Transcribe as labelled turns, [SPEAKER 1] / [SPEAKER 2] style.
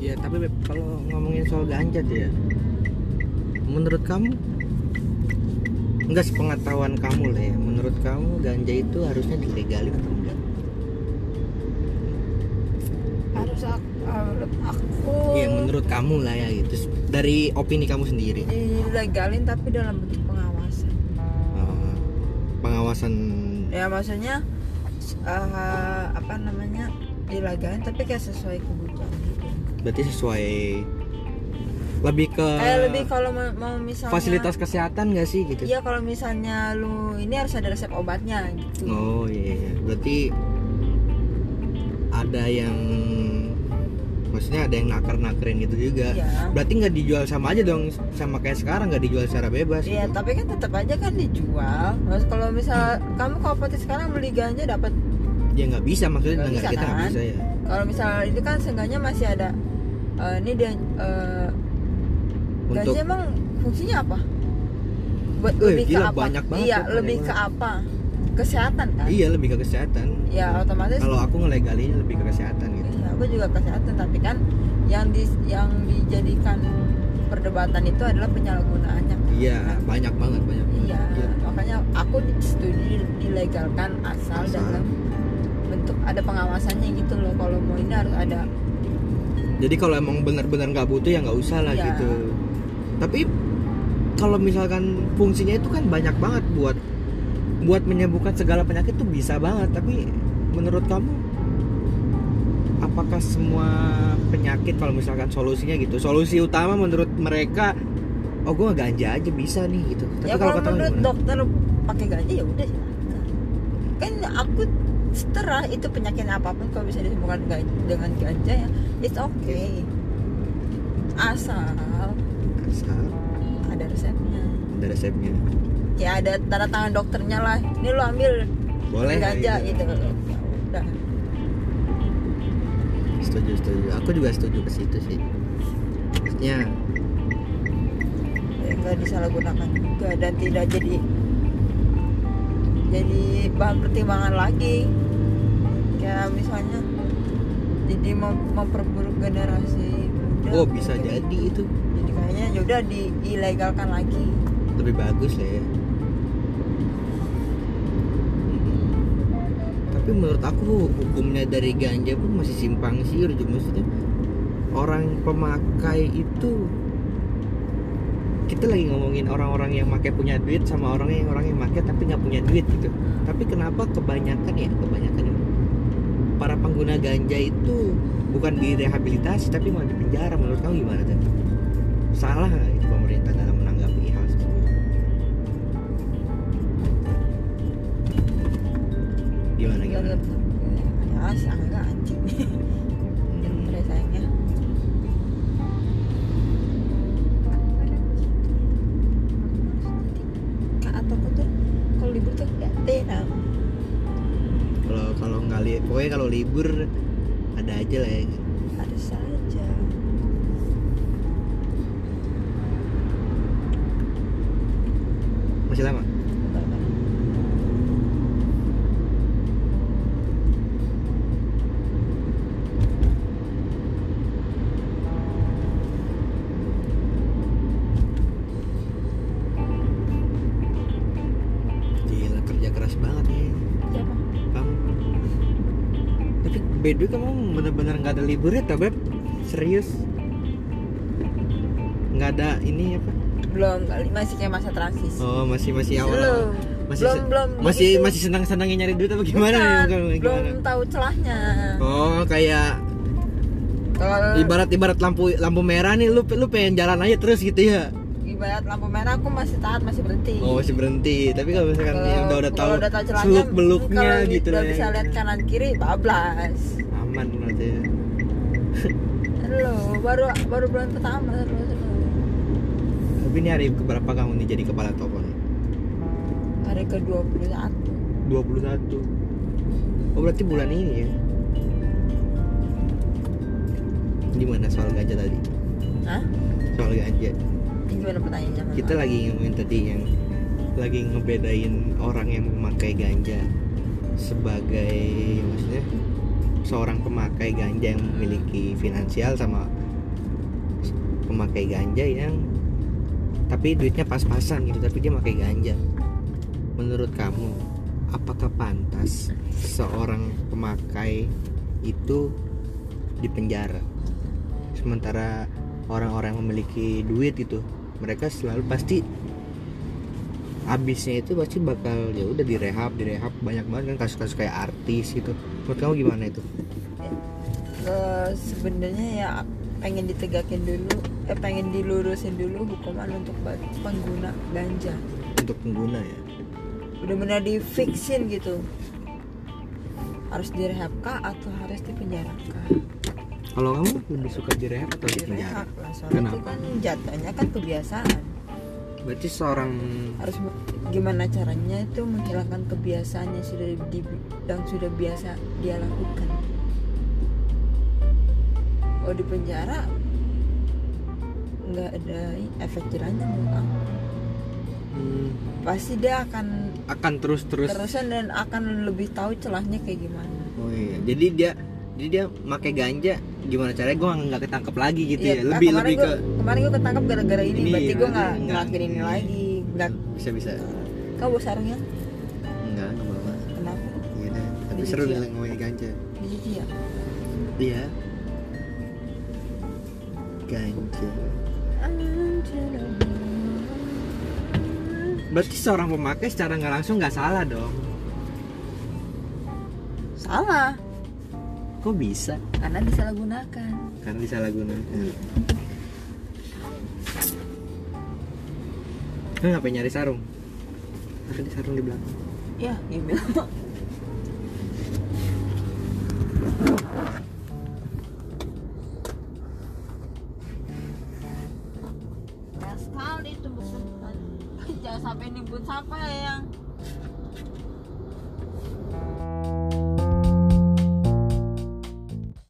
[SPEAKER 1] Iya, kalau ngomongin soal ganja tuh ya menurut kamu enggak sepengetahuan kamu lah ya menurut kamu ganja itu harusnya dilegalin atau enggak
[SPEAKER 2] harus aku, menurut aku
[SPEAKER 1] ya menurut kamu lah ya gitu dari opini kamu sendiri
[SPEAKER 2] dilegalin tapi dalam bentuk pengawasan
[SPEAKER 1] Eh, pengawasan
[SPEAKER 2] ya maksudnya s- eh, apa namanya dilegalin tapi kayak sesuai kebutuhan gitu
[SPEAKER 1] berarti sesuai lebih ke
[SPEAKER 2] kayak Eh, lebih kalau mau, mau misalnya
[SPEAKER 1] Eh, fasilitas kesehatan nggak sih gitu
[SPEAKER 2] Iya kalau misalnya lu ini harus ada resep obatnya gitu.
[SPEAKER 1] Oh iya, iya. berarti ada yang maksudnya ada yang nakar-nakarin gitu juga.
[SPEAKER 2] Iya.
[SPEAKER 1] Berarti nggak dijual sama aja dong sama kayak sekarang nggak dijual secara bebas.
[SPEAKER 2] Iya,
[SPEAKER 1] gitu.
[SPEAKER 2] tapi kan tetap aja kan dijual. Mas kalau misal kamu ke apotek sekarang beli ganja dapat
[SPEAKER 1] Ya nggak bisa maksudnya
[SPEAKER 2] Nggak
[SPEAKER 1] negara
[SPEAKER 2] bisa,
[SPEAKER 1] kita nggak
[SPEAKER 2] kan?
[SPEAKER 1] bisa ya.
[SPEAKER 2] kalau misal itu kan seenggaknya masih ada eh, ini dia eh,
[SPEAKER 1] Untuk
[SPEAKER 2] ganja emang fungsinya apa? Buat
[SPEAKER 1] Eh,
[SPEAKER 2] lebih
[SPEAKER 1] gila,
[SPEAKER 2] ke apa?
[SPEAKER 1] banyak banget
[SPEAKER 2] iya,
[SPEAKER 1] tuh, banyak
[SPEAKER 2] lebih ke apa? Kesehatan kan?
[SPEAKER 1] iya lebih ke kesehatan.
[SPEAKER 2] Ya otomatis
[SPEAKER 1] Kalau aku ngelegalinya lebih ke kesehatan gitu.
[SPEAKER 2] Iya, aku juga kesehatan tapi kan yang di yang dijadikan perdebatan itu adalah penyalahgunaannya. kan?
[SPEAKER 1] Iya banyak banget banyak. banget.
[SPEAKER 2] Iya,
[SPEAKER 1] Gila.
[SPEAKER 2] makanya aku setuju dilegalkan asal,
[SPEAKER 1] Asal.
[SPEAKER 2] dalam bentuk ada pengawasannya gitu loh. Kalau mau ini harus ada.
[SPEAKER 1] Jadi kalau emang benar-benar nggak butuh ya nggak usah lah
[SPEAKER 2] Iya.
[SPEAKER 1] gitu. Tapi kalau misalkan fungsinya itu kan banyak banget buat buat menyembuhkan segala penyakit tuh bisa banget. Tapi menurut kamu apakah semua penyakit kalau misalkan solusinya gitu? Solusi utama menurut mereka oh gue ganja aja bisa nih gitu. Tapi
[SPEAKER 2] ya kalau
[SPEAKER 1] kata lu
[SPEAKER 2] menurut
[SPEAKER 1] gimana?
[SPEAKER 2] dokter pakai ganja ya udah silakan. Kan aku setelah itu penyakit apapun kalau bisa disembuhkan ga- dengan ganja ya it's okay. Asal
[SPEAKER 1] Asal
[SPEAKER 2] ada resepnya.
[SPEAKER 1] ada resepnya.
[SPEAKER 2] Kayak ada tanda tangan dokternya lah. Ini lo ambil
[SPEAKER 1] Boleh lah,
[SPEAKER 2] ganja
[SPEAKER 1] gitu.
[SPEAKER 2] gitu. Ya udah.
[SPEAKER 1] setuju setuju aku juga setuju ke situ sih maksudnya
[SPEAKER 2] Ya, nggak disalahgunakan juga dan tidak jadi jadi bahan pertimbangan lagi kayak misalnya jadi mem- memperburuk generasi muda
[SPEAKER 1] oh bisa
[SPEAKER 2] mungkin.
[SPEAKER 1] jadi itu
[SPEAKER 2] jadi kayaknya yaudah diilegalkan lagi
[SPEAKER 1] lebih bagus lah ya tapi menurut aku hukumnya dari ganja pun masih simpang siur juga maksudnya orang pemakai itu kita lagi ngomongin orang-orang yang pakai punya duit sama orang yang orang yang pakai tapi nggak punya duit gitu tapi kenapa kebanyakan ya kebanyakan para pengguna ganja itu bukan direhabilitasi tapi malah dipenjara menurut kamu gimana tuh salah nggak itu pemerintah dalam menanggapi hal tersebut gimana gimana
[SPEAKER 2] Ilegal- Iya, ya sih agak anjing
[SPEAKER 1] Hmm.
[SPEAKER 2] Bener sayangnya Kak Atoko tuh kalau libur tuh nggak tenang
[SPEAKER 1] kalau kalau nggak li- pokoknya kalau libur ada aja lah ya
[SPEAKER 2] ada saja
[SPEAKER 1] masih lama gila kerja keras banget ya
[SPEAKER 2] Siapa?
[SPEAKER 1] kamu tapi by the way, kamu bener-bener nggak ada liburnya tau beb serius nggak ada ini apa
[SPEAKER 2] belum kali masih kayak masa transisi
[SPEAKER 1] oh masih masih awal
[SPEAKER 2] belum
[SPEAKER 1] masih
[SPEAKER 2] belum
[SPEAKER 1] se-
[SPEAKER 2] belum
[SPEAKER 1] masih
[SPEAKER 2] Gitu.
[SPEAKER 1] masih senang senangnya nyari duit apa gimana ya?
[SPEAKER 2] Bukan,
[SPEAKER 1] Bukan,
[SPEAKER 2] belum
[SPEAKER 1] gimana?
[SPEAKER 2] tahu celahnya
[SPEAKER 1] oh kayak
[SPEAKER 2] kalau
[SPEAKER 1] ibarat ibarat lampu lampu merah nih lu lu pengen jalan aja terus gitu ya
[SPEAKER 2] ibarat lampu merah aku masih taat masih berhenti
[SPEAKER 1] oh masih berhenti tapi kalau misalkan
[SPEAKER 2] Kalau-
[SPEAKER 1] ya udah udah tahu
[SPEAKER 2] kalau udah tahu celahnya
[SPEAKER 1] seluk beluknya
[SPEAKER 2] kalau
[SPEAKER 1] gitu
[SPEAKER 2] udah
[SPEAKER 1] lah ya.
[SPEAKER 2] bisa lihat kan. kanan kiri bablas
[SPEAKER 1] aman berarti ya.
[SPEAKER 2] lo baru baru bulan pertama lo
[SPEAKER 1] tapi ini hari keberapa kamu nih jadi kepala toko nih
[SPEAKER 2] hari ke 21
[SPEAKER 1] 21 oh berarti bulan ini ya gimana soal ganja tadi
[SPEAKER 2] Hah?
[SPEAKER 1] soal ganja
[SPEAKER 2] Ini gimana pertanyaannya Mama?
[SPEAKER 1] kita lagi ngomongin tadi yang lagi ngebedain orang yang memakai ganja sebagai maksudnya seorang pemakai ganja yang memiliki finansial sama pemakai ganja yang tapi duitnya pas-pasan gitu tapi dia pakai ganja menurut kamu apakah pantas seorang pemakai itu dipenjara sementara orang-orang yang memiliki duit itu mereka selalu pasti abisnya itu pasti bakal ya udah direhab direhab banyak banget kan kasus-kasus kayak artis gitu menurut kamu gimana itu
[SPEAKER 2] Eh, sebenarnya ya pengen ditegakin dulu eh pengen dilurusin dulu hukuman untuk ba- pengguna ganja
[SPEAKER 1] untuk pengguna ya
[SPEAKER 2] benar-benar difiksin gitu harus direhab kah atau harus dipenjara kah
[SPEAKER 1] kalau kamu lebih suka direhab atau dipenjara
[SPEAKER 2] direhab lah soalnya itu
[SPEAKER 1] Kenapa?
[SPEAKER 2] kan jatuhnya kan kebiasaan
[SPEAKER 1] berarti seorang
[SPEAKER 2] harus me- gimana caranya itu menghilangkan kebiasaan yang sudah di, yang sudah biasa dia lakukan kalau di penjara nggak ada efek jerahnya menurut aku.
[SPEAKER 1] hmm,
[SPEAKER 2] pasti dia akan
[SPEAKER 1] akan terus-terus
[SPEAKER 2] terusan dan akan lebih tahu celahnya kayak gimana
[SPEAKER 1] Oh iya, jadi dia jadi dia pakai ganja gimana caranya gue nggak ketangkep lagi gitu
[SPEAKER 2] Iya,
[SPEAKER 1] ya,
[SPEAKER 2] ah,
[SPEAKER 1] lebih
[SPEAKER 2] kemarin
[SPEAKER 1] lebih
[SPEAKER 2] gua, kemarin gue ketangkap gara-gara ini,
[SPEAKER 1] Ini,
[SPEAKER 2] berarti
[SPEAKER 1] berarti
[SPEAKER 2] gue nggak
[SPEAKER 1] nggak-
[SPEAKER 2] ngelakuin ini
[SPEAKER 1] iya.
[SPEAKER 2] lagi
[SPEAKER 1] ke
[SPEAKER 2] nggak
[SPEAKER 1] bisa bisa
[SPEAKER 2] kau bawa sarungnya
[SPEAKER 1] enggak enggak apa-apa
[SPEAKER 2] kenapa
[SPEAKER 1] iya deh tapi
[SPEAKER 2] Jadi
[SPEAKER 1] seru
[SPEAKER 2] dia-
[SPEAKER 1] nih ngomongin ganja
[SPEAKER 2] jadi ya
[SPEAKER 1] iya ganja berarti seorang pemakai secara nggak langsung nggak salah dong
[SPEAKER 2] salah
[SPEAKER 1] kok bisa Hmm.
[SPEAKER 2] karena disalahgunakan
[SPEAKER 1] karena disalahgunakan lu Kan ngapain nyari sarung ada di sarung di belakang
[SPEAKER 2] ya gimana sekali itu bukan jangan sampai nyebut siapa yang